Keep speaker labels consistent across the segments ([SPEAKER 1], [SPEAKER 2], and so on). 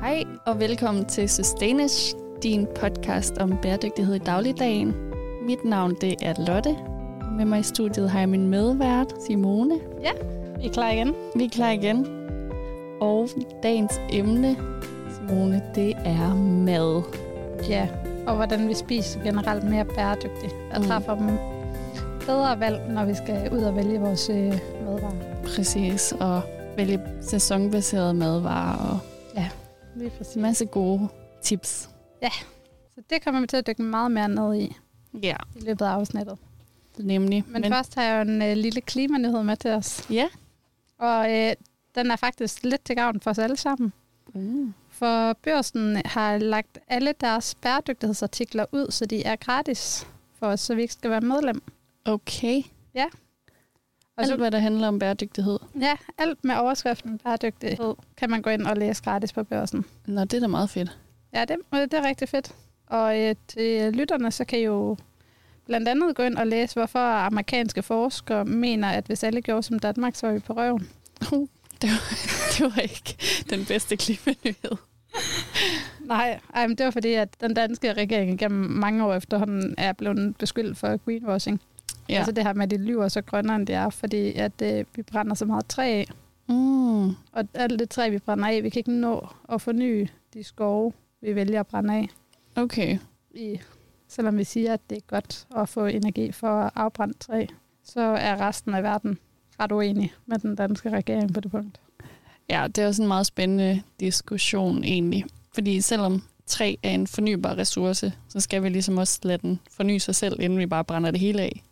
[SPEAKER 1] Hej og velkommen til Sustainish, din podcast om bæredygtighed i dagligdagen. Mit navn det er Lotte, og med mig i studiet har jeg min medvært Simone.
[SPEAKER 2] Vi er klar igen.
[SPEAKER 1] Vi er klar igen. Og dagens emne, Simone, det er mad.
[SPEAKER 2] Ja, og hvordan vi spiser generelt mere bæredygtigt og
[SPEAKER 1] Mm.
[SPEAKER 2] træffer dem bedre valg, når vi skal ud og vælge vores øh, madvarer.
[SPEAKER 1] Præcis, og vælge sæsonbaserede madvarer og
[SPEAKER 2] Lige præcis.
[SPEAKER 1] en masse gode tips.
[SPEAKER 2] Så det kommer vi til at dykke meget mere ned i
[SPEAKER 1] Ja,
[SPEAKER 2] i løbet af afsnittet.
[SPEAKER 1] nemlig.
[SPEAKER 2] Men, Men først har jeg jo en øh, lille klimanyhed med til os.
[SPEAKER 1] Ja.
[SPEAKER 2] Og øh, den er faktisk lidt til gavn for os alle sammen.
[SPEAKER 1] Mm.
[SPEAKER 2] For børsen har lagt alle deres bæredygtighedsartikler ud, så de er gratis for os, så vi ikke skal være medlem.
[SPEAKER 1] Okay,
[SPEAKER 2] Og så
[SPEAKER 1] alt hvad der handler om bæredygtighed.
[SPEAKER 2] Ja, alt med overskriften bæredygtighed kan man gå ind og læse gratis på børsen.
[SPEAKER 1] Nå, det er da meget fedt.
[SPEAKER 2] Ja, det, øh, det er rigtig fedt. Og øh, til lytterne, så kan I jo blandt andet gå ind og læse, hvorfor amerikanske forskere mener, at hvis alle gjorde som Danmark, så var vi på røven.
[SPEAKER 1] Det var ikke den bedste klimanyhed.
[SPEAKER 2] Nej, ej, men det var fordi, at den danske regering gennem mange år efterhånden er blevet beskyldt for greenwashing. Ja. Altså det her med, at de lyver så grønnere, end de er, fordi at, øh, vi brænder så meget træ af.
[SPEAKER 1] Mm.
[SPEAKER 2] Og alt det træ, vi brænder af, vi kan ikke nå at forny de skove, vi vælger at brænde af.
[SPEAKER 1] Okay.
[SPEAKER 2] i, selvom vi siger, at det er godt at få energi for at afbrænde træ, så er resten af verden ret uenig med den danske regering på det punkt.
[SPEAKER 1] Ja, det er også en meget spændende diskussion egentlig. Fordi selvom træ er en fornybar ressource, så skal vi ligesom også lade den forny sig selv, inden vi bare brænder det hele af.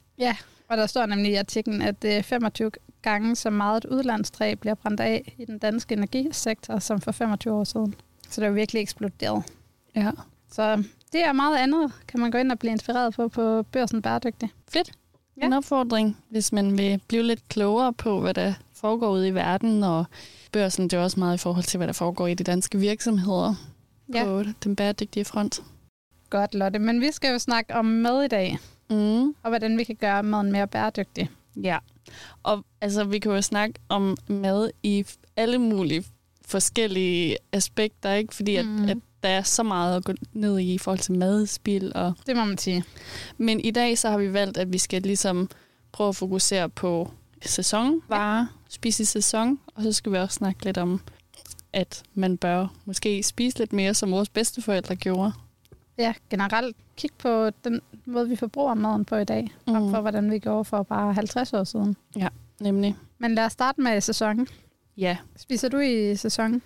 [SPEAKER 2] Og der står nemlig i artiklen, at det er 25 gange så meget et udlandstræ bliver brændt af i den danske energisektor, som for 25 år siden. Så det er jo virkelig eksploderet.
[SPEAKER 1] Ja.
[SPEAKER 2] Så det er meget andet, kan man gå ind og blive inspireret på på børsen bæredygtig.
[SPEAKER 1] Fedt.
[SPEAKER 2] Ja.
[SPEAKER 1] En opfordring, hvis man vil blive lidt klogere på, hvad der foregår ude i verden, og børsen det er også meget i forhold til, hvad der foregår i de danske virksomheder ja. på den bæredygtige front.
[SPEAKER 2] Godt, Lotte. Men vi skal jo snakke om mad i dag,
[SPEAKER 1] Mm.
[SPEAKER 2] og hvordan vi kan gøre maden mere bæredygtig.
[SPEAKER 1] Ja, og altså, vi kan jo snakke om mad i f- alle mulige forskellige aspekter, ikke? fordi at,
[SPEAKER 2] Mhm.
[SPEAKER 1] mm. at der er så meget at gå ned i i forhold til madspil. Og...
[SPEAKER 2] Det må man sige.
[SPEAKER 1] Men i dag så har vi valgt, at vi skal ligesom prøve at fokusere på sæsonvarer, spise i sæson, og så skal vi også snakke lidt om, at man bør måske spise lidt mere, som vores bedsteforældre gjorde.
[SPEAKER 2] ja, generelt kigge på den måde, vi forbruger maden på i dag, mm. frem for hvordan vi gjorde for bare 50 år siden.
[SPEAKER 1] Nemlig,
[SPEAKER 2] Men lad os starte med sæsonen.
[SPEAKER 1] ja,
[SPEAKER 2] Spiser du i sæsonen?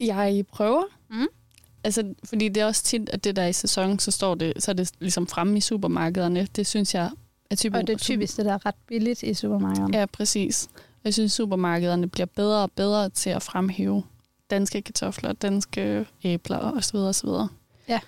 [SPEAKER 1] Jeg prøver.
[SPEAKER 2] Mm.
[SPEAKER 1] Altså, fordi det er også tit, at det der er i sæson, så står det, så er det ligesom fremme i supermarkederne. Det synes jeg er typisk.
[SPEAKER 2] Og det er typisk det, der er ret billigt i supermarkederne.
[SPEAKER 1] Ja, præcis. Og jeg synes, supermarkederne bliver bedre og bedre til at fremhæve danske kartofler, danske æbler og så videre og så videre.
[SPEAKER 2] Ja.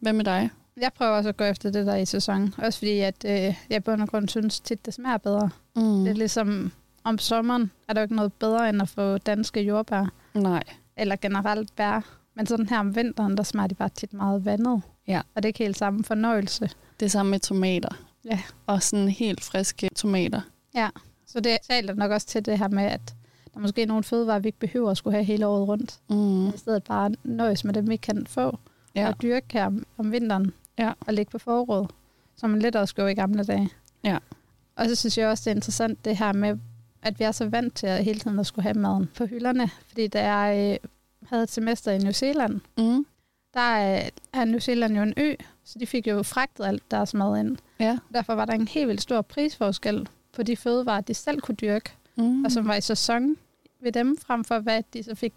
[SPEAKER 1] Hvad med dig?
[SPEAKER 2] Jeg prøver også at gå efter det, der er i sæsonen. Også fordi, at øh, jeg på en grund synes tit, det smager bedre. Mm. Det er ligesom om sommeren er der jo ikke noget bedre, end at få danske jordbær.
[SPEAKER 1] Nej.
[SPEAKER 2] Eller generelt bær. Men sådan her om vinteren, der smager de bare tit meget vandet.
[SPEAKER 1] Ja.
[SPEAKER 2] Og det er ikke helt samme fornøjelse.
[SPEAKER 1] Det er samme med tomater.
[SPEAKER 2] Ja.
[SPEAKER 1] Og sådan helt friske tomater.
[SPEAKER 2] Så det taler nok også til det her med, at der er måske nogle fødevarer, vi ikke behøver at skulle have hele året rundt.
[SPEAKER 1] Mm.
[SPEAKER 2] I stedet bare nøjes med dem, vi kan få ja.
[SPEAKER 1] Ja.
[SPEAKER 2] og dyrke her om, om vinteren
[SPEAKER 1] Ja.
[SPEAKER 2] og ligge på forråd, som man lidt også gjorde i gamle dage.
[SPEAKER 1] Ja.
[SPEAKER 2] Og så synes jeg også, det er interessant det her med, at vi er så vant til at hele tiden at skulle have maden på hylderne. Fordi da jeg øh, havde et semester i New Zealand,
[SPEAKER 1] Mm.
[SPEAKER 2] der øh, er New Zealand jo en ø, så de fik jo fragtet alt deres mad ind.
[SPEAKER 1] Ja.
[SPEAKER 2] Derfor var der en helt vildt stor prisforskel på de fødevarer, de selv kunne dyrke,
[SPEAKER 1] Mm.
[SPEAKER 2] og som var i sæson ved dem, frem for hvad de så fik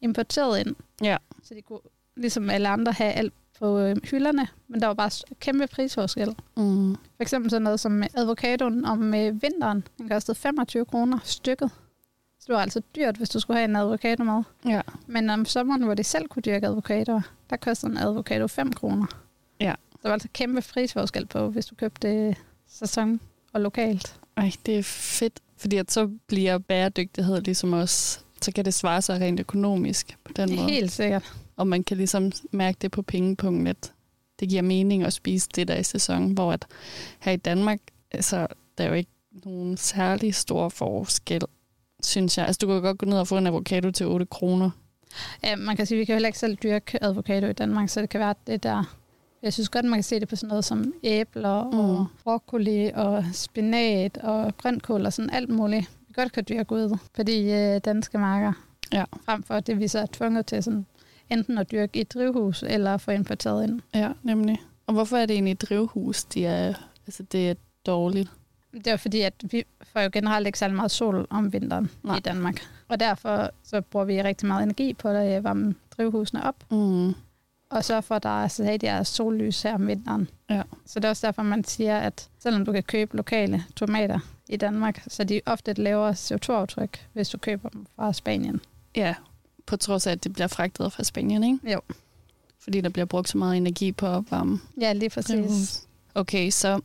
[SPEAKER 2] importeret ind.
[SPEAKER 1] Ja.
[SPEAKER 2] Så de kunne, ligesom alle andre, have alt på øh, hylderne, men der var bare s- kæmpe prisforskel.
[SPEAKER 1] Mm.
[SPEAKER 2] For eksempel sådan noget som øh, avocadoen om øh, vinteren, den kostede 25 kroner stykket. Så det var altså dyrt, hvis du skulle have en avocado med.
[SPEAKER 1] Ja.
[SPEAKER 2] Men om sommeren, hvor de selv kunne dyrke avocadoer, der kostede en avocado 5 kroner.
[SPEAKER 1] Ja.
[SPEAKER 2] Så der var altså kæmpe prisforskel på, hvis du købte øh, sæson og lokalt.
[SPEAKER 1] Ej, det er fedt, fordi at så bliver bæredygtighed ligesom også, så kan det svare sig rent økonomisk på den måde.
[SPEAKER 2] Helt sikkert.
[SPEAKER 1] Og man kan ligesom mærke det på pengepunkten, at det giver mening at spise det der i sæson, hvor at her i Danmark, altså, der er jo ikke nogen særlig stor forskel, synes jeg. Altså, du kan jo godt gå ned og få en avocado til 8 kroner.
[SPEAKER 2] Ja, man kan sige, at vi kan heller ikke selv dyrke avocado i Danmark, så det kan være, at det der... Jeg synes godt, man kan se det på sådan noget som æbler mm. og broccoli og spinat og grønkål og sådan alt muligt. Vi godt kan dyrke ud på de øh, danske marker.
[SPEAKER 1] Ja.
[SPEAKER 2] Frem for det, vi så er tvunget til sådan, enten at dyrke i et drivhus eller få importeret ind.
[SPEAKER 1] Ja, nemlig. Og hvorfor er det egentlig et drivhus, de er, altså det er dårligt?
[SPEAKER 2] Det er fordi, at vi får jo generelt ikke særlig meget sol om vinteren Nej. i Danmark. Og derfor så bruger vi rigtig meget energi på at varme drivhusene op.
[SPEAKER 1] Mm.
[SPEAKER 2] Og så for, at der er stadig er sollys her om vinteren.
[SPEAKER 1] Ja.
[SPEAKER 2] Så det er også derfor, man siger, at selvom du kan købe lokale tomater i Danmark, så de ofte et lavere CO2-aftryk, hvis du køber dem fra Spanien.
[SPEAKER 1] Ja, på trods af, at det bliver fragtet fra Spanien, ikke?
[SPEAKER 2] Jo.
[SPEAKER 1] Fordi der bliver brugt så meget energi på at opvarme.
[SPEAKER 2] Ja, lige præcis.
[SPEAKER 1] drivhus. Okay, så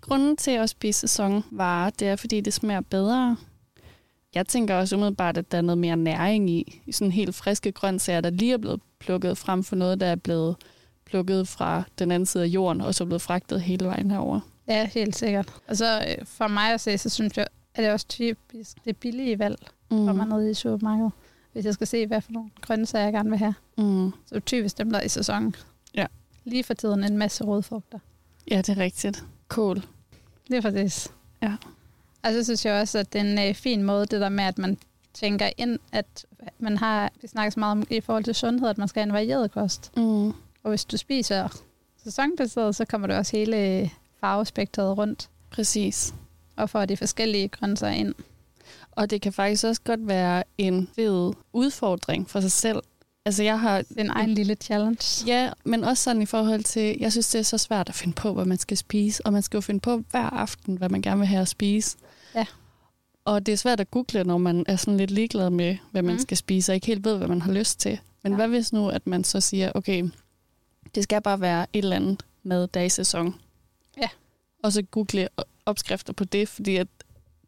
[SPEAKER 1] grunden til at spise sæsonvarer, det er, fordi det smager bedre. Jeg tænker også umiddelbart, at der er noget mere næring i. I sådan helt friske grøntsager, der lige er blevet plukket frem for noget, der er blevet plukket fra den anden side af jorden, og så er blevet fragtet hele vejen herover.
[SPEAKER 2] Ja, helt sikkert. Og så øh, for mig at se, så synes jeg, at det er også typisk det billige valg,
[SPEAKER 1] Mm.
[SPEAKER 2] når man er nede i supermarkedet. Hvis jeg skal se, hvad for nogle grøntsager jeg gerne vil have.
[SPEAKER 1] Mm.
[SPEAKER 2] Så er det typisk dem, der er i sæsonen.
[SPEAKER 1] Ja.
[SPEAKER 2] Lige for tiden en masse rødfrugter.
[SPEAKER 1] Ja, det er rigtigt. Kål.
[SPEAKER 2] Det er præcis.
[SPEAKER 1] Ja.
[SPEAKER 2] Og så synes jeg også, at det er en øh, fin måde, det der med, at man tænker ind, at man har, vi snakker så meget om i forhold til sundhed, at man skal have en varieret kost.
[SPEAKER 1] Mm.
[SPEAKER 2] Og hvis du spiser sæsonbaseret, så kommer du også hele øh, farvespektret rundt
[SPEAKER 1] Præcis.
[SPEAKER 2] og får de forskellige grøntsager ind.
[SPEAKER 1] Og det kan faktisk også godt være en fed udfordring for sig selv. Altså jeg har...
[SPEAKER 2] Det er en egen lille challenge.
[SPEAKER 1] Ja, men også sådan i forhold til, jeg synes, det er så svært at finde på, hvad man skal spise. Og man skal jo finde på hver aften, hvad man gerne vil have at spise.
[SPEAKER 2] Ja.
[SPEAKER 1] Og det er svært at google, når man er sådan lidt ligeglad med, hvad man
[SPEAKER 2] Mm.
[SPEAKER 1] mm. skal spise, og ikke helt ved, hvad man har lyst til. Men
[SPEAKER 2] Ja.
[SPEAKER 1] ja. hvad hvis nu, at man så siger, okay, det skal bare være et eller andet mad, der er i sæson.
[SPEAKER 2] Ja.
[SPEAKER 1] Og så google opskrifter på det, fordi at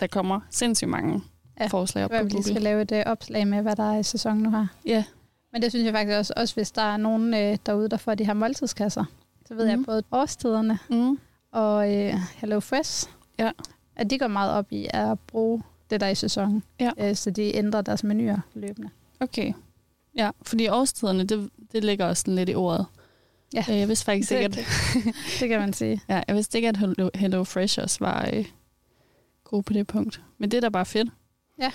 [SPEAKER 1] der kommer sindssygt mange
[SPEAKER 2] Ja,
[SPEAKER 1] ja. forslag op
[SPEAKER 2] Det
[SPEAKER 1] på
[SPEAKER 2] er, at vi lige
[SPEAKER 1] Google.
[SPEAKER 2] skal lave et øh, opslag med, hvad der er i sæsonen nu her.
[SPEAKER 1] Ja,
[SPEAKER 2] Men det synes jeg faktisk også, også hvis der er nogen øh, derude, der får de her måltidskasser. Så ved mm. jeg
[SPEAKER 1] Mhm.
[SPEAKER 2] både årstiderne
[SPEAKER 1] mm.
[SPEAKER 2] og øh, Hello Fresh,
[SPEAKER 1] Ja.
[SPEAKER 2] at de går meget op i at bruge det, der er i sæsonen.
[SPEAKER 1] Ja.
[SPEAKER 2] Øh, så de ændrer deres menuer løbende.
[SPEAKER 1] okay. Ja, fordi årstiderne, det, det ligger også sådan lidt i ordet.
[SPEAKER 2] Ja.
[SPEAKER 1] Øh, Jeg vidste faktisk ikke, at,
[SPEAKER 2] det, det kan man sige.
[SPEAKER 1] ja, jeg vidste ikke, at Hello, Hello Fresh også var øh, gode på det punkt. Men det er da bare fedt.
[SPEAKER 2] Ja.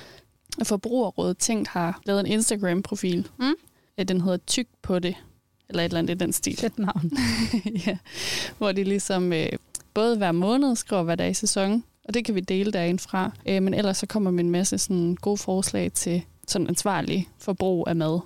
[SPEAKER 1] Og Forbrugerrådet Tænkt har lavet en Instagram-profil.
[SPEAKER 2] Mm.
[SPEAKER 1] Ja, den hedder Tyk på det, eller et eller andet i den stil.
[SPEAKER 2] Fedt navn.
[SPEAKER 1] ja, hvor de ligesom øh, både hver måned skriver, hvad der er i sæson, og det kan vi dele derinde fra. Øh, men ellers så kommer med en masse sådan gode forslag til sådan ansvarlig forbrug af mad.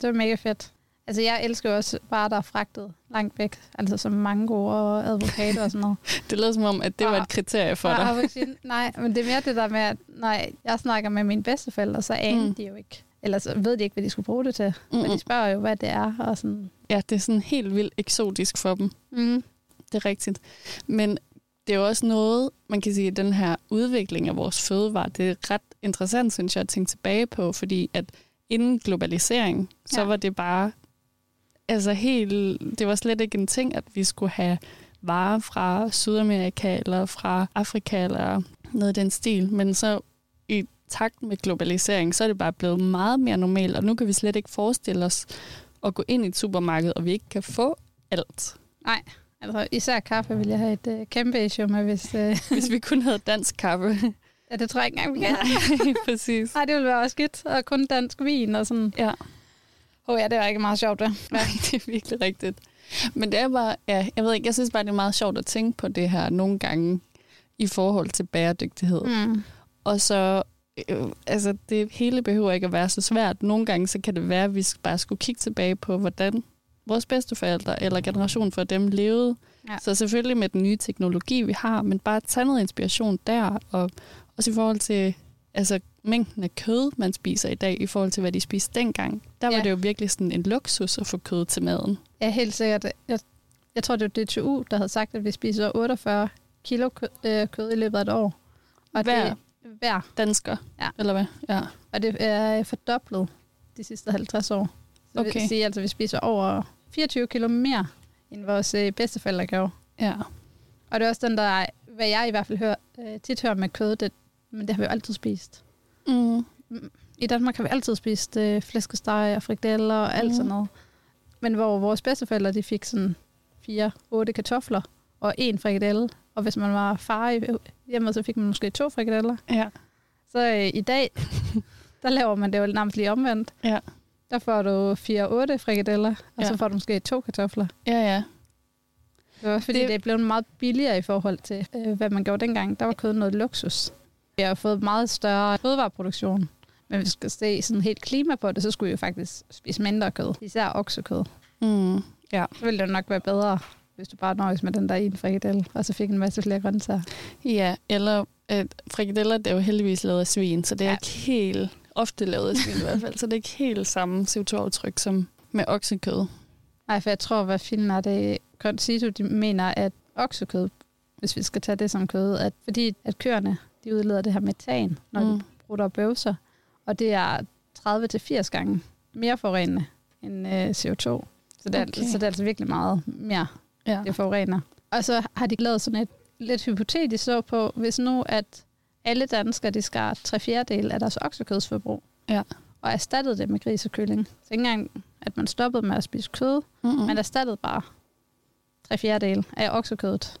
[SPEAKER 2] Det var mega fedt. Altså, jeg elsker jo også bare, der er fragtet langt væk. Altså som mango og avocado og sådan noget.
[SPEAKER 1] Det lyder som om, at det var et kriterie for
[SPEAKER 2] Og
[SPEAKER 1] dig.
[SPEAKER 2] aubergine- Nej, men det er mere det der med, at nej, jeg snakker med mine bedsteforældre, så aner mm.
[SPEAKER 1] Mm.
[SPEAKER 2] de jo ikke. Eller så ved de ikke, hvad de skulle bruge det til. Men de
[SPEAKER 1] Mm-mm.
[SPEAKER 2] spørger jo, hvad det er. Og sådan.
[SPEAKER 1] Ja, det er sådan helt vildt eksotisk for dem.
[SPEAKER 2] Mm.
[SPEAKER 1] Det er rigtigt. Men det er jo også noget, man kan sige, at den her udvikling af vores fødevarer, det er ret interessant, synes jeg, at tænke tilbage på, fordi at inden globalisering, så
[SPEAKER 2] Ja.
[SPEAKER 1] ja. var det bare, altså helt, det var slet ikke en ting, at vi skulle have varer fra Sydamerika eller fra Afrika eller noget i den stil, men så i takt med globalisering, så er det bare blevet meget mere normalt, og nu kan vi slet ikke forestille os at gå ind i et supermarked, og vi ikke kan få alt.
[SPEAKER 2] Altså, især kaffe ville jeg have et øh, kæmpe issue med, hvis... Øh,
[SPEAKER 1] Hvis vi kun havde dansk kaffe.
[SPEAKER 2] ja, det tror jeg ikke engang, vi kan.
[SPEAKER 1] Nej, præcis.
[SPEAKER 2] Nej, det ville være også skidt. Og kun dansk vin og sådan.
[SPEAKER 1] Ja.
[SPEAKER 2] Åh oh, ja, det var ikke meget sjovt, det.
[SPEAKER 1] Nej, det er virkelig rigtigt. Men det er bare, ja, jeg ved ikke, jeg synes bare, det er meget sjovt at tænke på det her nogle gange i forhold til bæredygtighed. Mm.
[SPEAKER 2] Mm.
[SPEAKER 1] Og så, øh, altså det hele behøver ikke at være så svært. Nogle gange, så kan det være, at vi bare skulle kigge tilbage på, hvordan vores bedsteforældre eller generation for dem levede.
[SPEAKER 2] Ja.
[SPEAKER 1] Ja. Så selvfølgelig med den nye teknologi, vi har, men bare tage noget inspiration der, og også i forhold til altså, mængden af kød, man spiser i dag, i forhold til, hvad de spiste dengang. Der var
[SPEAKER 2] Ja.
[SPEAKER 1] det jo virkelig sådan en luksus at få kød til maden.
[SPEAKER 2] Ja, helt sikkert. Jeg, jeg tror, det var DTU, der havde sagt, at vi spiser 48 kilo kød, øh, kød i løbet af et år. Og
[SPEAKER 1] Hver.
[SPEAKER 2] Det, hver.
[SPEAKER 1] Dansker,
[SPEAKER 2] Ja.
[SPEAKER 1] eller hvad? Ja.
[SPEAKER 2] Og det er fordoblet de sidste 50 år. Så okay. det
[SPEAKER 1] Okay.
[SPEAKER 2] vil sige, at altså, vi spiser over 24 kilo mere, end vores øh, bedsteforældre gjorde.
[SPEAKER 1] ja.
[SPEAKER 2] Og det er også den, der er, hvad jeg i hvert fald hører, øh, tit hører med kød, det, men det har vi jo altid spist.
[SPEAKER 1] Mm.
[SPEAKER 2] i Danmark har vi altid spist øh, flæskesteg og frikadeller og alt mm. sådan noget. Men hvor vores bedsteforældre, de fik sådan fire, otte kartofler og en frikadelle. Og hvis man var far i hjemmet, så fik man måske to frikadeller.
[SPEAKER 1] Ja.
[SPEAKER 2] Så øh, i dag, der laver man det jo nærmest lige omvendt.
[SPEAKER 1] Ja.
[SPEAKER 2] Der får du 4-8 frikadeller, og ja. så får du måske to kartofler.
[SPEAKER 1] Ja, ja.
[SPEAKER 2] Det var også fordi, det, det er blevet meget billigere i forhold til, øh, hvad man gjorde dengang. Der var kød noget luksus. Vi har fået meget større fødevareproduktion. Men hvis vi skal se sådan helt klima på det, så skulle vi jo faktisk spise mindre kød. Især oksekød.
[SPEAKER 1] Mm.
[SPEAKER 2] Ja. Så ville det jo nok være bedre, hvis du bare nøjes med den der ene frikadelle, og så fik en masse flere grøntsager.
[SPEAKER 1] Ja, eller øh, frikadeller det er jo heldigvis lavet af svin, så det er ja. ikke helt ofte lavet af svin i hvert fald, så det er ikke helt samme CO2-aftryk som med oksekød.
[SPEAKER 2] Nej, for jeg tror, hvad filmen er det, Grønt Situ, de mener, at oksekød, hvis vi skal tage det som kød, at fordi at køerne, de udleder det her metan, når mm. de bruger og bøvser, og det er 30-80 gange mere forurenende end øh, CO2. Så det, er, okay. så det er altså virkelig meget mere, ja. det forurener. Og så har de lavet sådan et lidt hypotetisk så på, hvis nu at alle danskere, de skar tre fjerdedel af deres oksekødsforbrug,
[SPEAKER 1] ja.
[SPEAKER 2] og erstattede det med grisekylling. Så ikke engang, at man stoppede med at spise kød, mm-hmm. man erstattede bare tre fjerdedel af oksekødet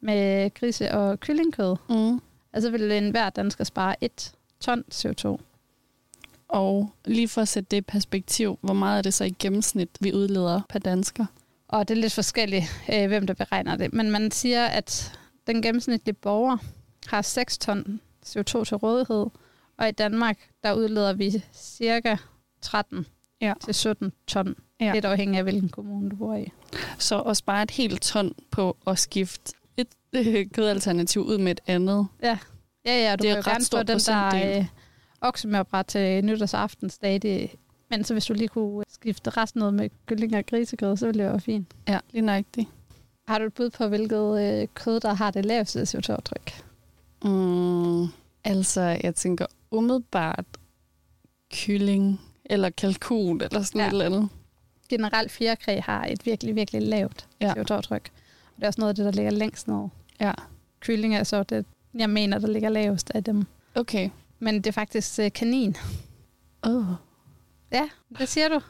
[SPEAKER 2] med grise- og kyllingkød.
[SPEAKER 1] Mm.
[SPEAKER 2] Altså ville enhver dansker spare et ton CO2.
[SPEAKER 1] Og lige for at sætte det i perspektiv, hvor meget er det så i gennemsnit, vi udleder per dansker?
[SPEAKER 2] Og det er lidt forskelligt, øh, hvem der beregner det. Men man siger, at den gennemsnitlige borger har 6 ton CO2 til rådighed, og i Danmark, der udleder vi cirka 13
[SPEAKER 1] ja.
[SPEAKER 2] til 17 ton,
[SPEAKER 1] ja.
[SPEAKER 2] lidt afhængig af, hvilken kommune du bor i.
[SPEAKER 1] Så at spare et helt ton på at skifte et øh, kødalternativ ud med et andet.
[SPEAKER 2] Ja, ja, ja du
[SPEAKER 1] det
[SPEAKER 2] kan jo gerne få den der øh, oksemørbræt til nytårsaften stadig. Men så hvis du lige kunne skifte resten ud med kylling og grisekød, så ville det være fint.
[SPEAKER 1] Ja, lige nøjagtigt.
[SPEAKER 2] Har du et bud på, hvilket øh, kød, der har det laveste CO2-aftryk?
[SPEAKER 1] Mm, altså, jeg tænker umiddelbart kylling eller kalkun eller sådan ja. et eller andet.
[SPEAKER 2] Generelt fjerkræ har et virkelig, virkelig lavt
[SPEAKER 1] Ja.
[SPEAKER 2] CO2-aftryk. Og det er også noget af det, der ligger længst ned.
[SPEAKER 1] Ja,
[SPEAKER 2] Kylling er så det, jeg mener, der ligger lavest af dem.
[SPEAKER 1] okay.
[SPEAKER 2] Men det er faktisk øh, kanin.
[SPEAKER 1] Oh.
[SPEAKER 2] Ja, hvad siger du?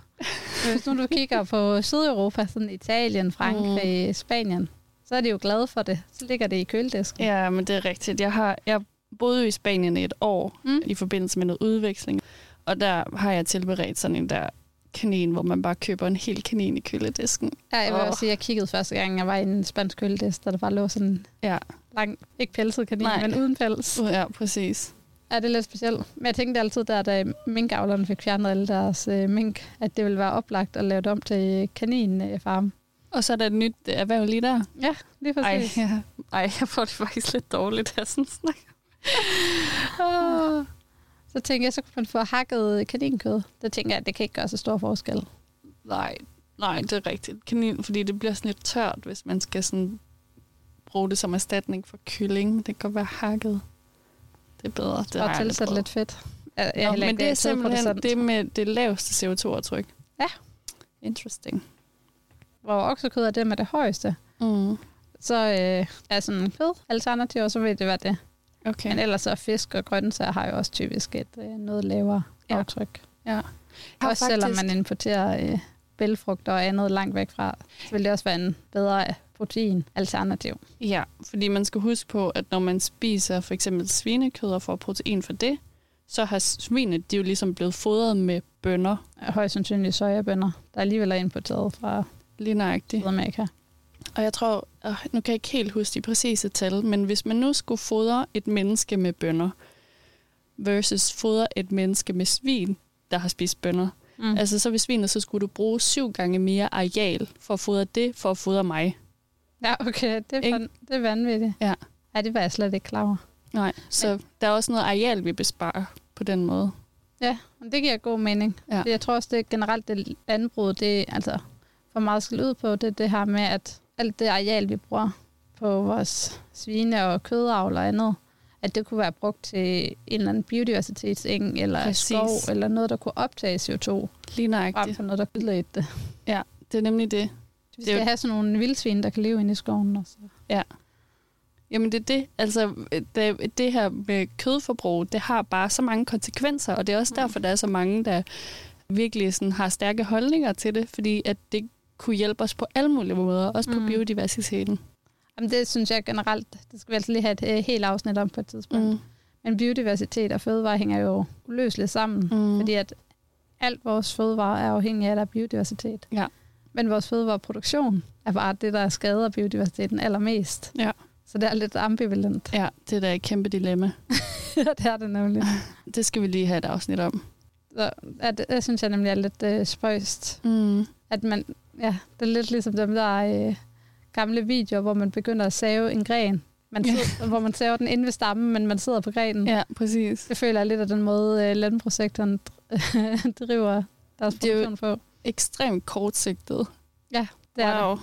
[SPEAKER 2] Hvis nu du kigger på Sydeuropa, sådan Italien, Frankrig, mm. Spanien, så er de jo glade for det. Så ligger det i køledisken.
[SPEAKER 1] Ja, men det er rigtigt. Jeg, har, jeg boede jo i Spanien i et år
[SPEAKER 2] Mm.
[SPEAKER 1] i forbindelse med noget udveksling, og der har jeg tilberedt sådan en der kanin, hvor man bare køber en hel kanin i køledisken.
[SPEAKER 2] Ja, jeg vil
[SPEAKER 1] Åh.
[SPEAKER 2] også sige, at jeg kiggede første gang, jeg var i en spansk køledist, og der bare lå sådan en
[SPEAKER 1] Ja.
[SPEAKER 2] lang, ikke pelset kanin,
[SPEAKER 1] Nej.
[SPEAKER 2] Nej. men uden pels.
[SPEAKER 1] Uh, ja, præcis.
[SPEAKER 2] Ja, det er lidt specielt. Men jeg tænkte altid, der, da minkavlerne fik fjernet alle deres øh, mink, at det ville være oplagt at lave det om til øh, kaninfarm.
[SPEAKER 1] Og så er der et nyt erhverv lige der.
[SPEAKER 2] Ja, lige
[SPEAKER 1] Ej,
[SPEAKER 2] præcis.
[SPEAKER 1] ja. Ej, jeg får det faktisk lidt dårligt, jeg sådan snakker.
[SPEAKER 2] Åh. Ah. Så tænkte jeg, så kunne man få hakket kaninkød. Der tænker jeg, at det kan ikke gøre så stor forskel.
[SPEAKER 1] Nej, nej, det er rigtigt. Kanin, fordi det bliver sådan lidt tørt, hvis man skal sådan bruge det som erstatning for kylling. Men det kan godt være hakket. Det er bedre. Det har jeg
[SPEAKER 2] og
[SPEAKER 1] aldrig
[SPEAKER 2] tilsætte
[SPEAKER 1] prøvet.
[SPEAKER 2] lidt fedt. Jeg, jeg
[SPEAKER 1] Nå,
[SPEAKER 2] heller
[SPEAKER 1] men
[SPEAKER 2] ikke
[SPEAKER 1] det er simpelthen
[SPEAKER 2] kødproducent.
[SPEAKER 1] det med det laveste CO2-aftryk.
[SPEAKER 2] Ja.
[SPEAKER 1] Interesting.
[SPEAKER 2] Hvor oksekød er det med det højeste.
[SPEAKER 1] Mm.
[SPEAKER 2] Så øh, er sådan kød alternativ, og så vil det være det.
[SPEAKER 1] Okay.
[SPEAKER 2] Men ellers så er fisk og grøntsager har jo også typisk et øh, noget lavere
[SPEAKER 1] Ja.
[SPEAKER 2] ja. aftryk.
[SPEAKER 1] Jeg har
[SPEAKER 2] også selvom
[SPEAKER 1] faktisk-
[SPEAKER 2] man importerer øh, bælfrugter og andet langt væk fra, så vil det også være en bedre øh, protein-alternativ.
[SPEAKER 1] Ja, fordi man skal huske på, at når man spiser for eksempel svinekød og får protein fra det, så har svinet de er jo ligesom blevet fodret med bønner
[SPEAKER 2] Højst sandsynligt sojabønner, der alligevel er importeret fra
[SPEAKER 1] lige nøjagtigt.
[SPEAKER 2] Sydamerika.
[SPEAKER 1] Og jeg tror, øh, nu kan jeg ikke helt huske de præcise tal, men hvis man nu skulle fodre et menneske med bønner versus fodre et menneske med svin, der har spist bønner,
[SPEAKER 2] Mm. Altså,
[SPEAKER 1] altså så ved svinet, så skulle du bruge syv gange mere areal for at fodre det, for at fodre mig.
[SPEAKER 2] ja, okay, det er,
[SPEAKER 1] Ikke?
[SPEAKER 2] fan, det er vanvittigt.
[SPEAKER 1] Ja.
[SPEAKER 2] Ej, det var jeg slet ikke klar over.
[SPEAKER 1] Nej, så der er også noget areal, vi besparer på den måde.
[SPEAKER 2] Ja, men det giver god mening.
[SPEAKER 1] Ja.
[SPEAKER 2] Ja. Jeg tror også, det er generelt det landbrug, det er altså for meget skal ud på, det er det her med, at alt det areal, vi bruger på vores svine- og kødavl og andet, at det kunne være brugt til en eller anden biodiversitetseng, eller
[SPEAKER 1] Præcis.
[SPEAKER 2] Præcis. skov, eller noget, der kunne optage CO2,
[SPEAKER 1] Lige
[SPEAKER 2] frem
[SPEAKER 1] nøjagtigt.
[SPEAKER 2] for noget, der udledte det.
[SPEAKER 1] Det er nemlig det.
[SPEAKER 2] Vi
[SPEAKER 1] Det er
[SPEAKER 2] skal
[SPEAKER 1] jo-
[SPEAKER 2] have sådan nogle vildsvin, der kan leve inde i skoven også.
[SPEAKER 1] Jamen det er det. Altså det, det her med kødforbrug, det har bare så mange konsekvenser, og det er også mm. derfor, der er så mange, der virkelig sådan har stærke holdninger til det, fordi at det kunne hjælpe os på alle mulige måder, også på mm. biodiversiteten.
[SPEAKER 2] Jamen det synes jeg generelt, det skal vi altså lige have et øh, helt afsnit om på et tidspunkt. Mm. Men biodiversitet og fødevare hænger jo uløseligt sammen, mm. fordi at alt vores fødevare er afhængig af, at der er biodiversitet.
[SPEAKER 1] Ja.
[SPEAKER 2] Men vores fødevareproduktion er bare det, der skader biodiversiteten allermest.
[SPEAKER 1] Ja.
[SPEAKER 2] Så det er lidt ambivalent.
[SPEAKER 1] Ja, det er da et kæmpe dilemma.
[SPEAKER 2] det er det nemlig.
[SPEAKER 1] Det skal vi lige have et afsnit om.
[SPEAKER 2] Så, ja, det, det synes jeg nemlig er lidt øh, spøjst.
[SPEAKER 1] Mm.
[SPEAKER 2] At man, ja, det er lidt ligesom dem der øh, gamle videoer, hvor man begynder at save en gren. Man sidder, hvor man saver den inde ved stammen, men man sidder på grenen.
[SPEAKER 1] Ja, præcis.
[SPEAKER 2] Det føler jeg lidt af den måde, øh, landbrugssektoren driver deres produktion på. Det er jo
[SPEAKER 1] ekstremt kortsigtet.
[SPEAKER 2] Ja, det er wow. det.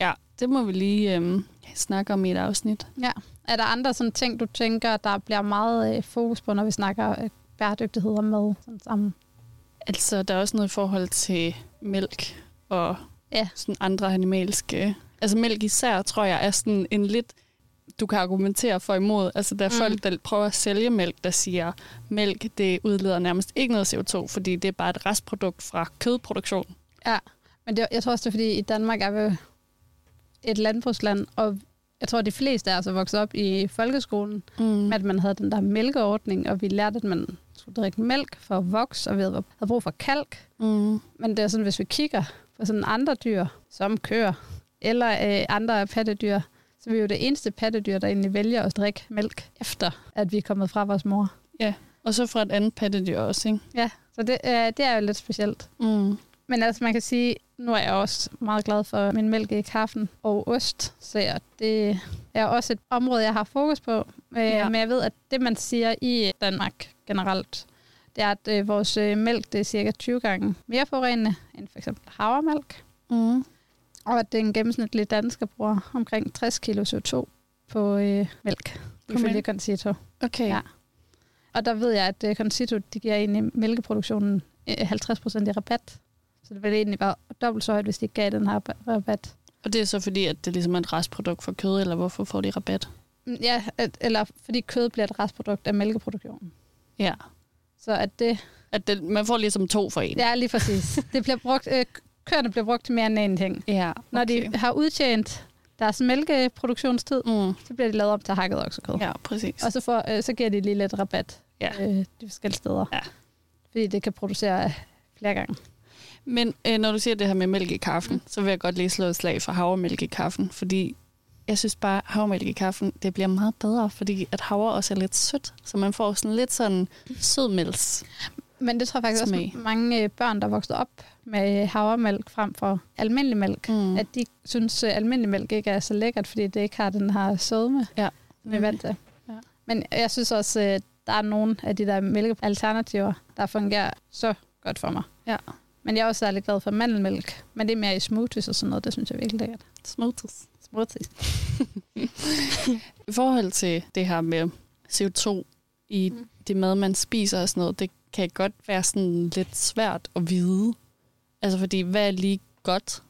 [SPEAKER 1] Ja, det må vi lige øh, snakke om i et afsnit.
[SPEAKER 2] Ja. Er der andre sådan ting, du tænker, der bliver meget øh, fokus på, når vi snakker øh, bæredygtighed og mad sådan sammen?
[SPEAKER 1] Altså, der er også noget i forhold til mælk og
[SPEAKER 2] ja.
[SPEAKER 1] sådan andre animalske... Altså mælk især, tror jeg, er sådan en lidt du kan argumentere for imod. Altså, der er mm. folk, der prøver at sælge mælk, der siger, mælk det udleder nærmest ikke noget CO2, fordi det er bare et restprodukt fra kødproduktion.
[SPEAKER 2] Ja, men det, jeg tror også, det er fordi, i Danmark er vi et landbrugsland, og jeg tror, de fleste er altså vokset op i folkeskolen, mm. med at man havde den der mælkeordning, og vi lærte, at man skulle drikke mælk for at vokse, og vi havde brug for kalk.
[SPEAKER 1] Mm.
[SPEAKER 2] Men det er sådan, hvis vi kigger på sådan andre dyr, som køer, eller øh, andre pattedyr, så vi er jo det eneste pattedyr, der egentlig vælger at drikke mælk, efter at vi er kommet fra vores mor.
[SPEAKER 1] Ja, og så fra et andet pattedyr også, ikke?
[SPEAKER 2] Ja, så det, øh, det er jo lidt specielt.
[SPEAKER 1] Mm.
[SPEAKER 2] Men altså, man kan sige, nu er jeg også meget glad for min mælk i kaffen og ost, så jeg, det er også et område, jeg har fokus på. Øh, ja. Men jeg ved, at det, man siger i Danmark generelt, det er, at øh, vores øh, mælk det er cirka 20 gange mere forurenende end for eksempel havremælk.
[SPEAKER 1] Mm.
[SPEAKER 2] Og at den gennemsnitlige dansker bruger omkring 60 kilo CO2 på øh, mælk, ifølge Concito.
[SPEAKER 1] Okay.
[SPEAKER 2] Ja. Og der ved jeg, at øh, Concito de giver egentlig mælkeproduktionen øh, 50 procent i rabat. Så det ville egentlig være dobbelt så højt, hvis de ikke gav den her rabat.
[SPEAKER 1] Og det er så fordi, at det ligesom er et restprodukt for kød, eller hvorfor får de rabat?
[SPEAKER 2] Mm, Ja, at, eller fordi kød bliver et restprodukt af mælkeproduktionen.
[SPEAKER 1] Ja.
[SPEAKER 2] Så at det...
[SPEAKER 1] At det, man får ligesom to for en.
[SPEAKER 2] Ja, lige præcis. det bliver brugt, øh, køerne bliver brugt til mere end en ting.
[SPEAKER 1] Ja, okay.
[SPEAKER 2] Når de har udtjent deres mælkeproduktionstid,
[SPEAKER 1] mm.
[SPEAKER 2] så bliver de lavet op til hakket oksekød.
[SPEAKER 1] Ja, præcis.
[SPEAKER 2] Og så, får, øh, så giver de lige lidt rabat
[SPEAKER 1] ja.
[SPEAKER 2] øh, de forskellige steder.
[SPEAKER 1] Ja.
[SPEAKER 2] Fordi det kan producere flere gange.
[SPEAKER 1] Men øh, når du siger det her med mælk i kaffen, mm. så vil jeg godt lige slå et slag for havremælk i kaffen, fordi jeg synes bare, at havremælk i kaffen, det bliver meget bedre, fordi at havre også er lidt sødt, så man får sådan lidt sådan sødmælks.
[SPEAKER 2] Men det tror jeg faktisk smag. også mange øh, børn, der vokser op med øh, havremælk frem for almindelig mælk, mm. at de synes, at almindelig mælk ikke er så lækkert, fordi det ikke har den her sødme,
[SPEAKER 1] ja.
[SPEAKER 2] som vi er vant til.
[SPEAKER 1] Mm. Ja.
[SPEAKER 2] Men jeg synes også, at der er nogle af de der mælkealternativer, der fungerer så godt for mig.
[SPEAKER 1] Ja.
[SPEAKER 2] Men jeg er også særlig glad for mandelmælk. Men det er mere i smoothies og sådan noget. Det synes jeg virkelig lækkert.
[SPEAKER 1] Smoothies.
[SPEAKER 2] Smoothies.
[SPEAKER 1] I forhold til det her med CO2 i mm. det mad, man spiser og sådan noget, det kan godt være sådan lidt svært at vide. Altså fordi, hvad er lige godt?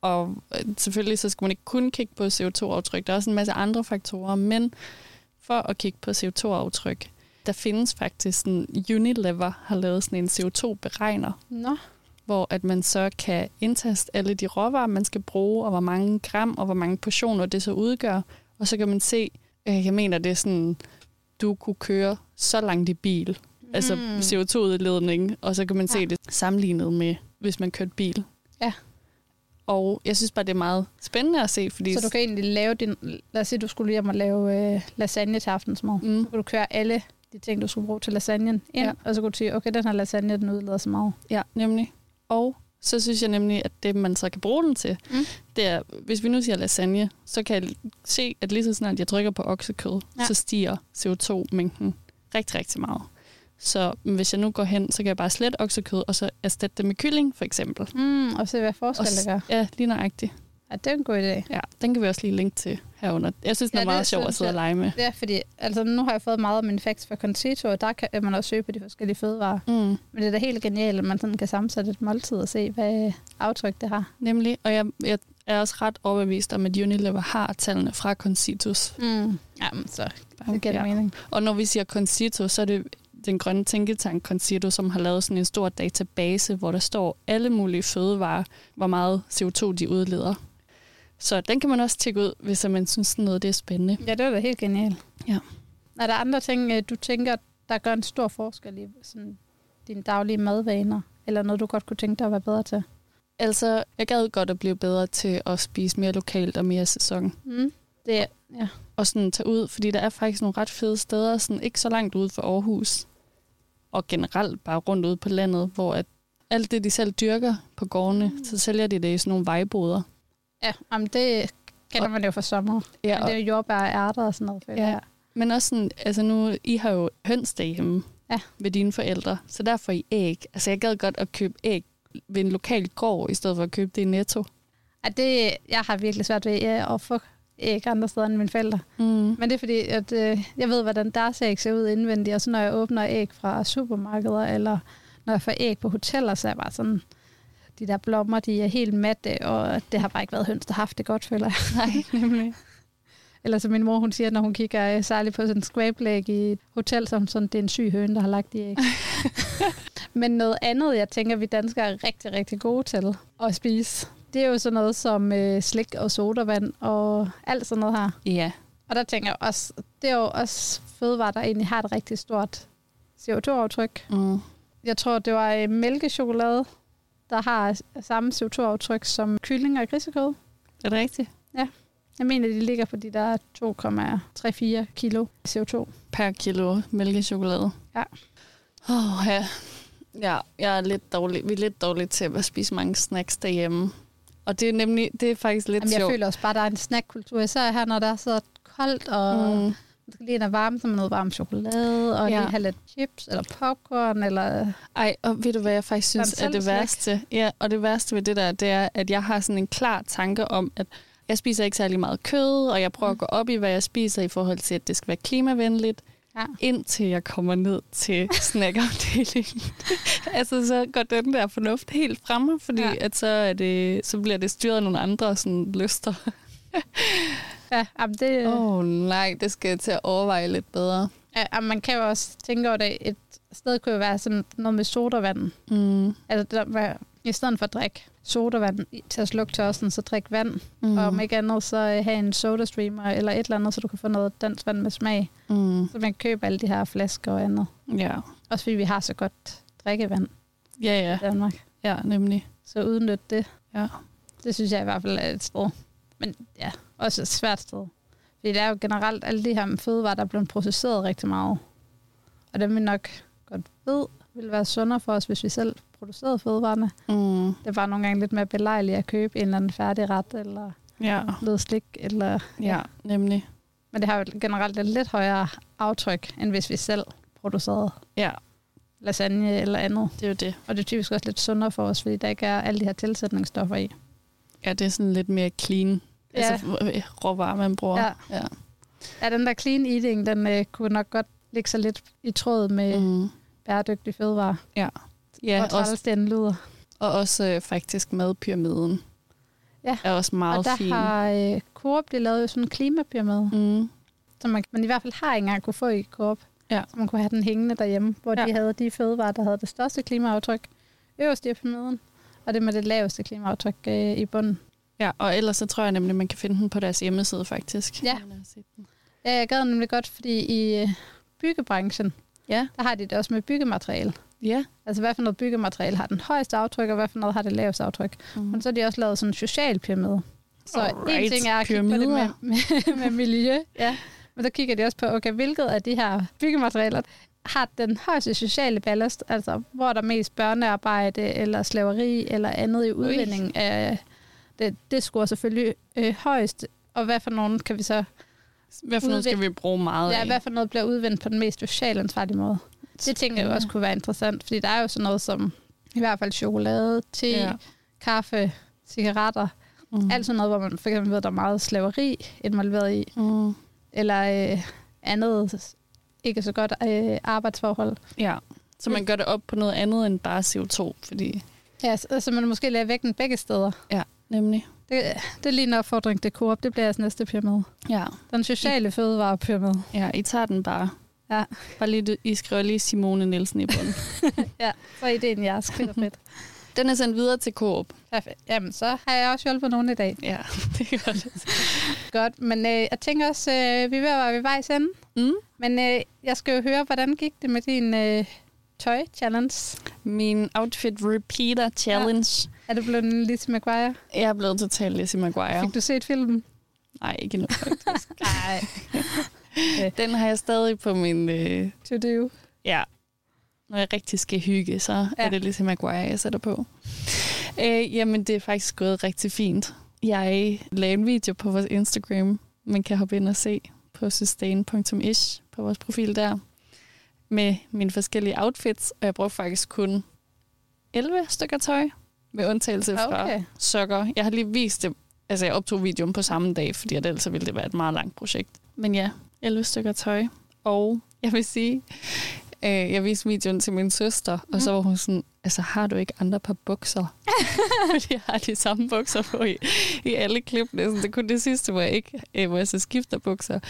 [SPEAKER 1] Og øh, selvfølgelig så skal man ikke kun kigge på CO2-aftryk. Der er også en masse andre faktorer, men for at kigge på CO2-aftryk, der findes faktisk sådan, Unilever har lavet sådan en CO2-beregner.
[SPEAKER 2] Nå. No
[SPEAKER 1] hvor at man så kan indtaste alle de råvarer, man skal bruge, og hvor mange gram og hvor mange portioner det så udgør. Og så kan man se, øh, jeg mener, det er sådan, du kunne køre så langt i bil, mm. altså CO2-udledning, og så kan man ja. se det sammenlignet med, hvis man kørte bil.
[SPEAKER 2] Ja.
[SPEAKER 1] Og jeg synes bare, det er meget spændende at se. Fordi
[SPEAKER 2] så du kan egentlig lave din... Lad os sige, du skulle hjem og lave øh, lasagne til aftensmad.
[SPEAKER 1] Mm.
[SPEAKER 2] Så kan du køre alle de ting, du skulle bruge til lasagnen ind, ja. og så kunne du sige, okay, den her lasagne, den udleder så meget.
[SPEAKER 1] Ja, nemlig. Og så synes jeg nemlig, at det, man så kan bruge den til,
[SPEAKER 2] mm.
[SPEAKER 1] det er, hvis vi nu siger lasagne, så kan jeg se, at lige så snart jeg trykker på oksekød,
[SPEAKER 2] Ja.
[SPEAKER 1] ja. så stiger CO2-mængden rigtig, rigtig meget. Så hvis jeg nu går hen, så kan jeg bare slette oksekød, og så erstatte det med kylling, for eksempel.
[SPEAKER 2] Mm, og se, hvad
[SPEAKER 1] Og
[SPEAKER 2] forskel
[SPEAKER 1] s-
[SPEAKER 2] det gør.
[SPEAKER 1] Ja, lige nøjagtigt.
[SPEAKER 2] Ja, det er en god idé.
[SPEAKER 1] Ja, den kan vi også lige linke til herunder. Jeg synes, den
[SPEAKER 2] Ja,
[SPEAKER 1] er
[SPEAKER 2] det
[SPEAKER 1] meget sjov at
[SPEAKER 2] synes
[SPEAKER 1] sidde og
[SPEAKER 2] jeg.
[SPEAKER 1] lege med.
[SPEAKER 2] Ja, fordi altså, nu har jeg fået meget af min facts fra Concito, og der kan man også søge på de forskellige fødevarer.
[SPEAKER 1] Mm.
[SPEAKER 2] Men det er da helt genialt, at man sådan kan sammensætte et måltid og se, hvad aftryk det har.
[SPEAKER 1] Nemlig, og jeg, jeg er også ret overbevist om, at Unilever har tallene fra Concitus.
[SPEAKER 2] Mm. Jamen, så
[SPEAKER 1] Okay.
[SPEAKER 2] det giver det mening.
[SPEAKER 1] Og når vi siger Concito, så er det den grønne tænketank Concito, som har lavet sådan en stor database, hvor der står alle mulige fødevarer, hvor meget CO2 de udleder. Så den kan man også tjekke ud, hvis man synes, sådan noget det er spændende.
[SPEAKER 2] Ja, det var da helt genialt.
[SPEAKER 1] Ja.
[SPEAKER 2] Er der andre ting, øh, du tænker, der gør en stor forskel i sådan, dine daglige madvaner? Eller noget, du godt kunne tænke dig at være bedre til?
[SPEAKER 1] Altså, jeg gad godt at blive bedre til at spise mere lokalt og mere sæson.
[SPEAKER 2] Mm. Det er,
[SPEAKER 1] Og sådan tage ud, fordi der er faktisk nogle ret fede steder, sådan ikke så langt ude for Aarhus. Og generelt bare rundt ude på landet, hvor at alt det, de selv dyrker på gårdene,
[SPEAKER 2] Mm.
[SPEAKER 1] så sælger de det i sådan nogle vejboder.
[SPEAKER 2] ja, jamen, det kender man jo fra sommer. Ja, Men det er jo jordbær og ærter og sådan noget. føler
[SPEAKER 1] Ja.
[SPEAKER 2] jeg.
[SPEAKER 1] Men også sådan, altså nu, I har jo høns derhjemme
[SPEAKER 2] Ja.
[SPEAKER 1] ved dine forældre, så der får I æg. Altså jeg gad godt at købe æg ved en lokal gård, i stedet for at købe det i Netto.
[SPEAKER 2] At det, jeg har virkelig svært ved ja, at få æg andre steder end mine forældre.
[SPEAKER 1] Mm.
[SPEAKER 2] Men det er fordi, at øh, jeg ved, hvordan deres æg ser ud indvendigt, og så når jeg åbner æg fra supermarkeder, eller når jeg får æg på hoteller, så er jeg bare sådan, de der blommer, de er helt matte, og det har bare ikke været høns, der har haft det godt, føler jeg.
[SPEAKER 1] Nej, nemlig.
[SPEAKER 2] Eller som min mor, hun siger, når hun kigger øh, særligt på sådan en skvæblæg i et hotel, som sådan, det er en syg høne, der har lagt de æg. Men noget andet, jeg tænker, vi danskere er rigtig, rigtig gode til at spise, det er jo sådan noget som øh, slik og sodavand og alt sådan noget her.
[SPEAKER 1] Ja,
[SPEAKER 2] Og der tænker jeg også, det er jo også fødevarer, der egentlig har et rigtig stort CO2-aftryk.
[SPEAKER 1] mm.
[SPEAKER 2] Jeg tror, det var øh, mælkechokolade, der har samme CO2-aftryk som kylling og grisekød.
[SPEAKER 1] er det rigtigt?
[SPEAKER 2] Jeg mener, de ligger på de der 2,34 kilo CO2.
[SPEAKER 1] Per kilo mælkechokolade.
[SPEAKER 2] Ja.
[SPEAKER 1] Åh, oh, ja. Ja, jeg er lidt dårlig. Vi er lidt dårlige til at spise mange snacks derhjemme. Og det er nemlig, det er faktisk lidt
[SPEAKER 2] Jamen, jeg
[SPEAKER 1] sjovt.
[SPEAKER 2] føler også bare, at der er en snackkultur. Især her, når der er så koldt, og mm.
[SPEAKER 1] Mm.
[SPEAKER 2] man skal lige have varme, så man noget varm chokolade, og
[SPEAKER 1] Ja.
[SPEAKER 2] ja. lige have lidt chips, eller popcorn, eller...
[SPEAKER 1] Ej, og ved du, hvad jeg faktisk
[SPEAKER 2] Sådan
[SPEAKER 1] synes er det
[SPEAKER 2] selvslik.
[SPEAKER 1] værste? Ja, og det værste ved det der, det er, at jeg har sådan en klar tanke om, at jeg spiser ikke særlig meget kød, og jeg prøver
[SPEAKER 2] Mm.
[SPEAKER 1] at gå op i, hvad jeg spiser i forhold til, at det skal være klimavenligt,
[SPEAKER 2] Ja.
[SPEAKER 1] indtil jeg kommer ned til snackafdelingen. altså, så går den der fornuft helt fremme, fordi ja.
[SPEAKER 2] Ja.
[SPEAKER 1] at så, er det, så bliver det styret af nogle andre sådan, lyster.
[SPEAKER 2] Ja, jamen, det...
[SPEAKER 1] Åh oh, nej, det skal jeg til at overveje lidt bedre.
[SPEAKER 2] Ja, og man kan jo også tænke over det. Et sted kunne jo være sådan noget med sodavand.
[SPEAKER 1] Mm.
[SPEAKER 2] Altså, der var, i stedet for at drikke sodavand i- til at slukke tørsten, så drik vand. Mm.
[SPEAKER 1] Mm.
[SPEAKER 2] Og om ikke andet, så øh, have en sodastreamer eller et eller andet, så du kan få noget dansk vand med smag.
[SPEAKER 1] mm.
[SPEAKER 2] Så man kan købe alle de her flasker og andet.
[SPEAKER 1] Ja.
[SPEAKER 2] Også fordi vi har så godt drikkevand
[SPEAKER 1] Ja,
[SPEAKER 2] i
[SPEAKER 1] ja,
[SPEAKER 2] Danmark.
[SPEAKER 1] ja, nemlig.
[SPEAKER 2] Så udnyt det.
[SPEAKER 1] Ja.
[SPEAKER 2] Det synes jeg i hvert fald er et sted. Men ja, også et svært sted. Fordi det er jo generelt alle de her med fødevarer, der er blevet processeret rigtig meget. Og dem vi nok godt ved, ville være sundere for os, hvis vi selv producerede fødevarerne.
[SPEAKER 1] Mm.
[SPEAKER 2] Det er bare nogle gange lidt mere belejligt at købe en eller anden færdig ret, eller
[SPEAKER 1] Ja.
[SPEAKER 2] noget slik. Eller,
[SPEAKER 1] Ja, nemlig.
[SPEAKER 2] Men det har jo generelt et lidt højere aftryk, end hvis vi selv producerede
[SPEAKER 1] Ja,
[SPEAKER 2] lasagne eller andet.
[SPEAKER 1] det er jo det.
[SPEAKER 2] Og det er typisk også lidt sundere for os, fordi der ikke er alle de her tilsætningsstoffer i.
[SPEAKER 1] Ja, det er sådan lidt mere clean. Ja. Altså r- råvarer, man bruger.
[SPEAKER 2] Ja.
[SPEAKER 1] ja.
[SPEAKER 2] Ja, den der clean eating, den øh, kunne nok godt ligge sig lidt i tråd med mm.
[SPEAKER 1] Mm.
[SPEAKER 2] bæredygtige fødevarer. Ja,
[SPEAKER 1] ja
[SPEAKER 2] og
[SPEAKER 1] også,
[SPEAKER 2] træls den lyder.
[SPEAKER 1] og også øh, faktisk madpyramiden
[SPEAKER 2] Ja,
[SPEAKER 1] er også
[SPEAKER 2] Og
[SPEAKER 1] meget
[SPEAKER 2] der
[SPEAKER 1] fin.
[SPEAKER 2] har øh, Coop de lavet jo sådan en klimapyramide,
[SPEAKER 1] Mm.
[SPEAKER 2] som man, man i hvert fald har ikke engang kunne få i Coop.
[SPEAKER 1] Ja.
[SPEAKER 2] Så man kunne have den hængende derhjemme, hvor
[SPEAKER 1] Ja.
[SPEAKER 2] de havde de fødevarer, der havde det største klimaaftryk øverst i pyramiden, og det med det laveste klimaaftryk øh, i bunden.
[SPEAKER 1] Ja, og ellers så tror jeg nemlig, man kan finde den på deres hjemmeside faktisk.
[SPEAKER 2] Ja.
[SPEAKER 1] Jeg har set den.
[SPEAKER 2] Ja, jeg gad nemlig godt, fordi i øh, byggebranchen,
[SPEAKER 1] Ja.
[SPEAKER 2] der har de det også med byggemateriale.
[SPEAKER 1] Ja.
[SPEAKER 2] Altså, hvad for noget byggemateriale har den højeste aftryk, og hvad for noget har det laveste aftryk. Men
[SPEAKER 1] Mm.
[SPEAKER 2] så har de også lavet sådan en social pyramide. Så
[SPEAKER 1] Alright,
[SPEAKER 2] en ting er at kigge på det med,
[SPEAKER 1] pyramider.
[SPEAKER 2] med, med miljø, ja. men så kigger de også på, okay, hvilket af de her byggematerialer har den højeste sociale ballast, altså hvor er der mest børnearbejde, eller slaveri, eller andet i udvinding af det, det scorer selvfølgelig øh, højst, og hvad for nogen kan vi så,
[SPEAKER 1] Hvad for noget skal vi bruge meget
[SPEAKER 2] ja,
[SPEAKER 1] af?
[SPEAKER 2] hvad for noget bliver udvendt på den mest socialt ansvarlige måde. Det tænker jeg jo også kunne være interessant, fordi der er jo sådan noget som i hvert fald chokolade, te, ja.
[SPEAKER 1] Ja.
[SPEAKER 2] kaffe, cigaretter,
[SPEAKER 1] Mm.
[SPEAKER 2] Alt sådan noget, hvor man for eksempel ved, at der er meget slaveri involveret i,
[SPEAKER 1] Mm.
[SPEAKER 2] eller øh, andet ikke så godt øh, arbejdsforhold.
[SPEAKER 1] Ja, så
[SPEAKER 2] Mm.
[SPEAKER 1] man gør det op på noget andet end bare CO2, fordi
[SPEAKER 2] Ja, så, så man måske lærer vægten begge steder.
[SPEAKER 1] nemlig.
[SPEAKER 2] Det, det er lige en opfordring til Coop. Det bliver jeres næste pyramide.
[SPEAKER 1] Ja.
[SPEAKER 2] Den sociale fødevarepyramide.
[SPEAKER 1] ja, I tager den bare.
[SPEAKER 2] Ja.
[SPEAKER 1] Bare lige, I skriver lige Simone Nielsen i bunden.
[SPEAKER 2] Ja, så er ideen jeres. Fedt og fedt.
[SPEAKER 1] den er sendt videre til Coop.
[SPEAKER 2] Perfekt. Jamen, så har jeg også hjulpet nogen i dag.
[SPEAKER 1] Ja, det er godt.
[SPEAKER 2] Godt, men øh, jeg tænker også, øh, vi er ved at være ved vejs ende.
[SPEAKER 1] Mm.
[SPEAKER 2] Men øh, jeg skal jo høre, hvordan gik det med din øh, tøj-challenge?
[SPEAKER 1] Min outfit repeater challenge.
[SPEAKER 2] Er det blevet en Lizzie McGuire?
[SPEAKER 1] Ja. Jeg er blevet totalt Lizzie McGuire.
[SPEAKER 2] Fik du set filmen?
[SPEAKER 1] Nej, ikke endnu.
[SPEAKER 2] Nej.
[SPEAKER 1] Den har jeg stadig på min... Øh,
[SPEAKER 2] to do.
[SPEAKER 1] ja. Når jeg rigtig skal hygge, så ja.
[SPEAKER 2] Ja.
[SPEAKER 1] er det Lizzie McGuire, jeg sætter på. Øh, jamen, det er faktisk gået rigtig fint. Jeg lagde en video på vores Instagram. Man kan hoppe ind og se på sustain.ish på vores profil der. Med mine forskellige outfits, og jeg brugte faktisk kun 11 stykker tøj. Med undtagelse fra
[SPEAKER 2] Ah, Okay.
[SPEAKER 1] sokker. Jeg har lige vist det. Altså, jeg optog videoen på samme dag, fordi at ellers så ville det være et meget langt projekt. Men ja, 11 stykker tøj. Og jeg vil sige, øh, jeg viste videoen til min søster, og så var hun sådan, altså har du ikke andre par bukser? fordi jeg har de samme bukser på i, i alle klippene. Så det er kun det sidste, hvor jeg, ikke, øh, hvor jeg så skifter bukser.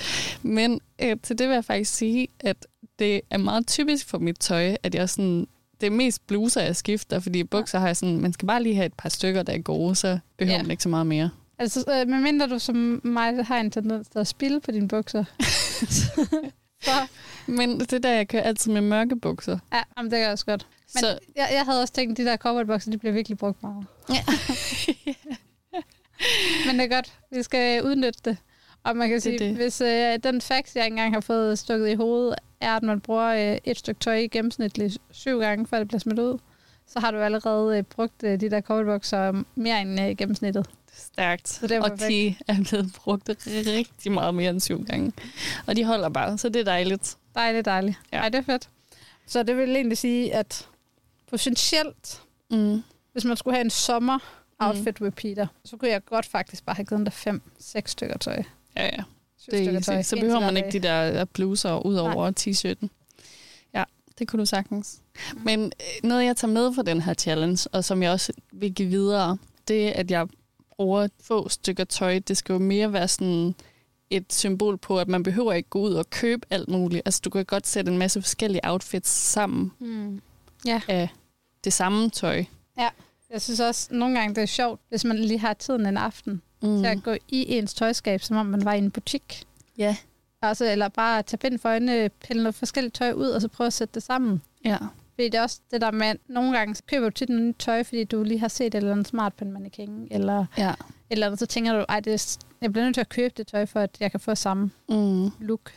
[SPEAKER 1] Men øh, til det vil jeg faktisk sige, at det er meget typisk for mit tøj, at jeg sådan, det er mest bluser, jeg skifter, fordi bukser har jeg sådan, man skal bare lige have et par stykker, der er gode, så behøver
[SPEAKER 2] Ja.
[SPEAKER 1] man ikke så meget mere.
[SPEAKER 2] Altså, øh, medmindre du som mig har en tendens til at spille på dine bukser. så,
[SPEAKER 1] Men det er der, jeg kører altid med mørke bukser.
[SPEAKER 2] ja, jamen, det gør jeg også godt. Men
[SPEAKER 1] Så,
[SPEAKER 2] jeg, jeg havde også tænkt, at de der cowboybukser, de bliver virkelig brugt meget.
[SPEAKER 1] Ja.
[SPEAKER 2] Men det er godt. Vi skal udnytte det. Og man kan
[SPEAKER 1] Det er
[SPEAKER 2] sige,
[SPEAKER 1] det.
[SPEAKER 2] det. hvis øh, den fax, jeg engang har fået stukket i hovedet, er, at man bruger øh, et stykke tøj i gennemsnitligt syv gange, før det bliver smidt ud, så har du allerede øh, brugt øh, de der cowboybukser mere end øh, gennemsnittet.
[SPEAKER 1] stærkt.
[SPEAKER 2] Så det er
[SPEAKER 1] og
[SPEAKER 2] perfekt.
[SPEAKER 1] de er blevet brugt rigtig meget mere end syv gange. Og de holder bare, så det er dejligt.
[SPEAKER 2] Dejligt, dejligt.
[SPEAKER 1] Ja.
[SPEAKER 2] Ja. Ej, det er fedt. Så det vil egentlig sige, at potentielt,
[SPEAKER 1] Mm.
[SPEAKER 2] hvis man skulle have en sommer outfit repeater, så kunne jeg godt faktisk bare have givet den der fem, seks stykker tøj.
[SPEAKER 1] Ja, ja.
[SPEAKER 2] Syv
[SPEAKER 1] Det er
[SPEAKER 2] stykker
[SPEAKER 1] easy.
[SPEAKER 2] tøj.
[SPEAKER 1] Så
[SPEAKER 2] En
[SPEAKER 1] behøver
[SPEAKER 2] til
[SPEAKER 1] man
[SPEAKER 2] hver
[SPEAKER 1] ikke de der øh, bluser ud over t-shirten. Ja, det kunne du sagtens. Men øh, noget, jeg tager med fra den her challenge, og som jeg også vil give videre, det er, at jeg bruger få stykker tøj. Det skal jo mere være sådan et symbol på, at man behøver ikke gå ud og købe alt muligt. Altså, du kan godt sætte en masse forskellige outfits sammen
[SPEAKER 2] dag. Mm.
[SPEAKER 1] af det samme tøj.
[SPEAKER 2] Jeg synes også, nogle gange det er sjovt, hvis man lige har tiden en aften, mm. til at gå i ens tøjskab, som om man var i en butik.
[SPEAKER 1] Ja.
[SPEAKER 2] Altså, eller bare tage pind for øjnene, pille noget forskelligt tøj ud, og så prøve at sætte det sammen.
[SPEAKER 1] Ja.
[SPEAKER 2] Fordi det er også det der med, at nogle gange køber du tit noget nyt tøj, fordi du lige har set et eller andet smart på en mannequin, eller et
[SPEAKER 1] ja.
[SPEAKER 2] eller andet, så tænker du, ej, det er, jeg bliver nødt til at købe det tøj, for at jeg kan få samme
[SPEAKER 1] Mm.
[SPEAKER 2] look.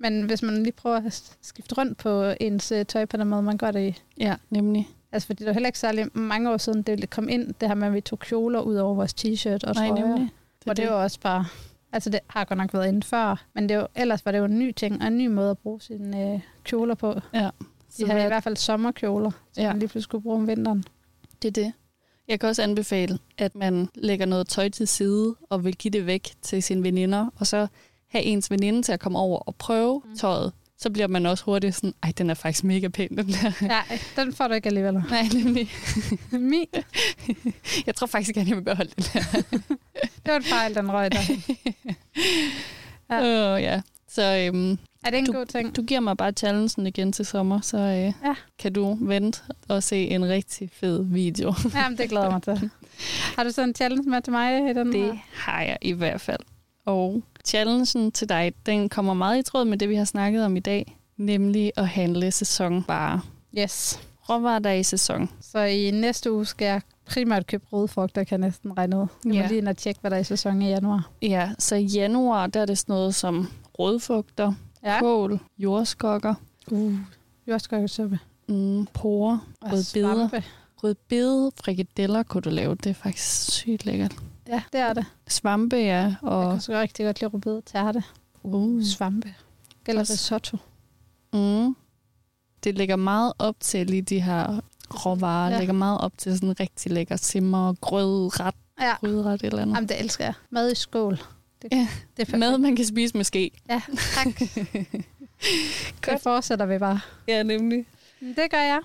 [SPEAKER 2] Men hvis man lige prøver at skifte rundt på ens øh, tøj på den måde, man gør det i,
[SPEAKER 1] Ja, nemlig.
[SPEAKER 2] Altså, fordi det var heller ikke særlig mange år siden, det kom ind, det her med, at vi tog kjoler ud over vores t-shirt og trøjer.
[SPEAKER 1] Det,
[SPEAKER 2] Og det
[SPEAKER 1] det.
[SPEAKER 2] var også bare... Altså, det har godt nok været inden før, men det var, ellers var det jo en ny ting, og en ny måde at bruge sine øh, kjoler på.
[SPEAKER 1] Så
[SPEAKER 2] De havde i
[SPEAKER 1] hvad-
[SPEAKER 2] hvert fald sommerkjoler, som
[SPEAKER 1] Ja.
[SPEAKER 2] ja. man lige pludselig skulle bruge om vinteren.
[SPEAKER 1] Det er det. Jeg kan også anbefale, at man lægger noget tøj til side og vil give det væk til sine veninder, og så have ens veninde til at komme over og prøve mm. tøjet. Så bliver man også hurtigt sådan, ej, den er faktisk mega pæn, den der.
[SPEAKER 2] Ja, den får du ikke alligevel.
[SPEAKER 1] Nej, nemlig.
[SPEAKER 2] Mi,
[SPEAKER 1] Jeg tror faktisk gerne, jeg vil beholde den der.
[SPEAKER 2] det var en fejl, den røg der.
[SPEAKER 1] Ja. Oh, ja. Så øhm,
[SPEAKER 2] Er det en god ting?
[SPEAKER 1] du giver mig bare challengen igen til sommer, så øh, ja.
[SPEAKER 2] Ja.
[SPEAKER 1] kan du vente og se en rigtig fed video.
[SPEAKER 2] Jamen, det glæder jeg mig til. Har du så en challenge med til mig i den her?
[SPEAKER 1] Det har jeg i hvert fald. Og challengen til dig, den kommer meget i tråd med det, vi har snakket om i dag, nemlig at handle sæsonvarer.
[SPEAKER 2] Yes.
[SPEAKER 1] Råvarer, der er i sæson.
[SPEAKER 2] Så i næste uge skal jeg primært købe røde frugter, kan jeg næsten regne ud. Jeg må
[SPEAKER 1] Ja.
[SPEAKER 2] lige ind og tjekke, hvad der er i sæsonen i januar.
[SPEAKER 1] Ja, så i januar, der er det sådan noget som rødfugter, ja.
[SPEAKER 2] Ja.
[SPEAKER 1] kål, jordskokker,
[SPEAKER 2] Uh. Jordskokkesuppe.
[SPEAKER 1] mm, porer,
[SPEAKER 2] Og
[SPEAKER 1] Rødbeder.
[SPEAKER 2] svampe.
[SPEAKER 1] rødbede, frikadeller kunne du lave. Det er faktisk sygt lækkert.
[SPEAKER 2] Ja, det er det.
[SPEAKER 1] Svampe, ja,
[SPEAKER 2] Jeg
[SPEAKER 1] og
[SPEAKER 2] kan så rigtig godt lide rødbede tærte.
[SPEAKER 1] uh,
[SPEAKER 2] Svampe. Eller
[SPEAKER 1] Også-
[SPEAKER 2] risotto.
[SPEAKER 1] Mm. Det lægger meget op til lige de her råvarer. Ja.
[SPEAKER 2] Ja.
[SPEAKER 1] lægger meget op til sådan en rigtig lækker simmer, grød, ret,
[SPEAKER 2] Ja.
[SPEAKER 1] grydret eller andet.
[SPEAKER 2] Jamen, det elsker jeg. Mad i skål. Det,
[SPEAKER 1] Ja,
[SPEAKER 2] det er perfekt.
[SPEAKER 1] Mad, man kan spise måske.
[SPEAKER 2] Ja, tak.
[SPEAKER 1] Godt.
[SPEAKER 2] det fortsætter vi bare.
[SPEAKER 1] Ja, nemlig.
[SPEAKER 2] Det gør jeg.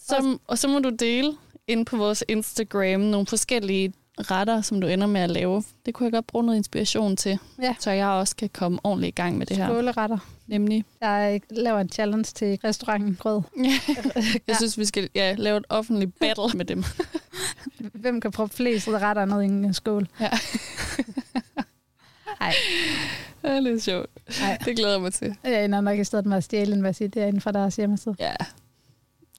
[SPEAKER 1] Så, og så må du dele ind på vores Instagram nogle forskellige retter, som du ender med at lave, det kunne jeg godt bruge noget inspiration til,
[SPEAKER 2] Ja.
[SPEAKER 1] så jeg også kan komme ordentligt i gang med det her.
[SPEAKER 2] Skåleretter.
[SPEAKER 1] Nemlig.
[SPEAKER 2] Jeg laver en challenge til restauranten Grød.
[SPEAKER 1] Jeg synes, vi skal ja, lave et offentligt battle med dem.
[SPEAKER 2] Hvem kan proppe flest retter ned i en skål?
[SPEAKER 1] Ja.
[SPEAKER 2] Nej,
[SPEAKER 1] Det er lidt sjovt.
[SPEAKER 2] nej.
[SPEAKER 1] Det glæder jeg mig til.
[SPEAKER 2] Jeg ender nok i stedet med at stjæle en vasidere inden for deres hjemmeside.
[SPEAKER 1] Ja,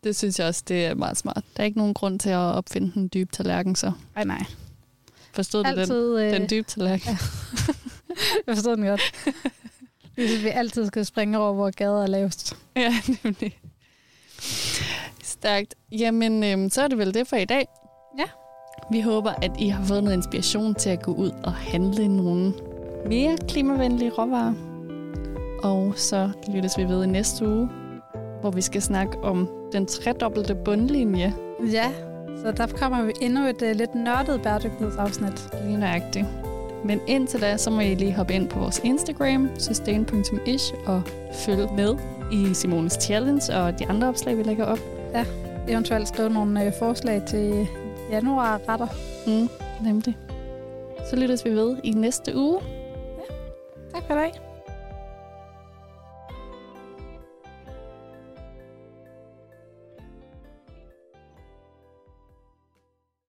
[SPEAKER 1] det synes jeg også, det er meget smart. Der er ikke nogen grund til at opfinde den dybe tallerken, så
[SPEAKER 2] Nej, nej.
[SPEAKER 1] forstod du den,
[SPEAKER 2] Altid, øh,
[SPEAKER 1] den dybe tallerken? Ja.
[SPEAKER 2] jeg forstod den godt. Ligesom vi altid skal springe over, hvor gader er lavest.
[SPEAKER 1] ja, nemlig. Stærkt. Jamen, øhm, så er det vel det for i dag.
[SPEAKER 2] Ja.
[SPEAKER 1] Vi håber, at I har fået noget inspiration til at gå ud og handle nogle mere klimavenlige råvarer. Og så lyttes vi ved i næste uge, hvor vi skal snakke om den tredobbelte bundlinje.
[SPEAKER 2] Ja, så der kommer vi endnu et uh, lidt nørdet bæredygtighedsafsnit.
[SPEAKER 1] Lige nøjagtigt. Men indtil da, så må I lige hoppe ind på vores Instagram, sustain.ish, og følg med i Simones Challenge og de andre opslag, vi lægger op.
[SPEAKER 2] Eventuelt skrive nogle uh, forslag til januarretter.
[SPEAKER 1] Mm, nemlig. Så lyttes vi ved i næste uge.
[SPEAKER 2] Tak for i dag.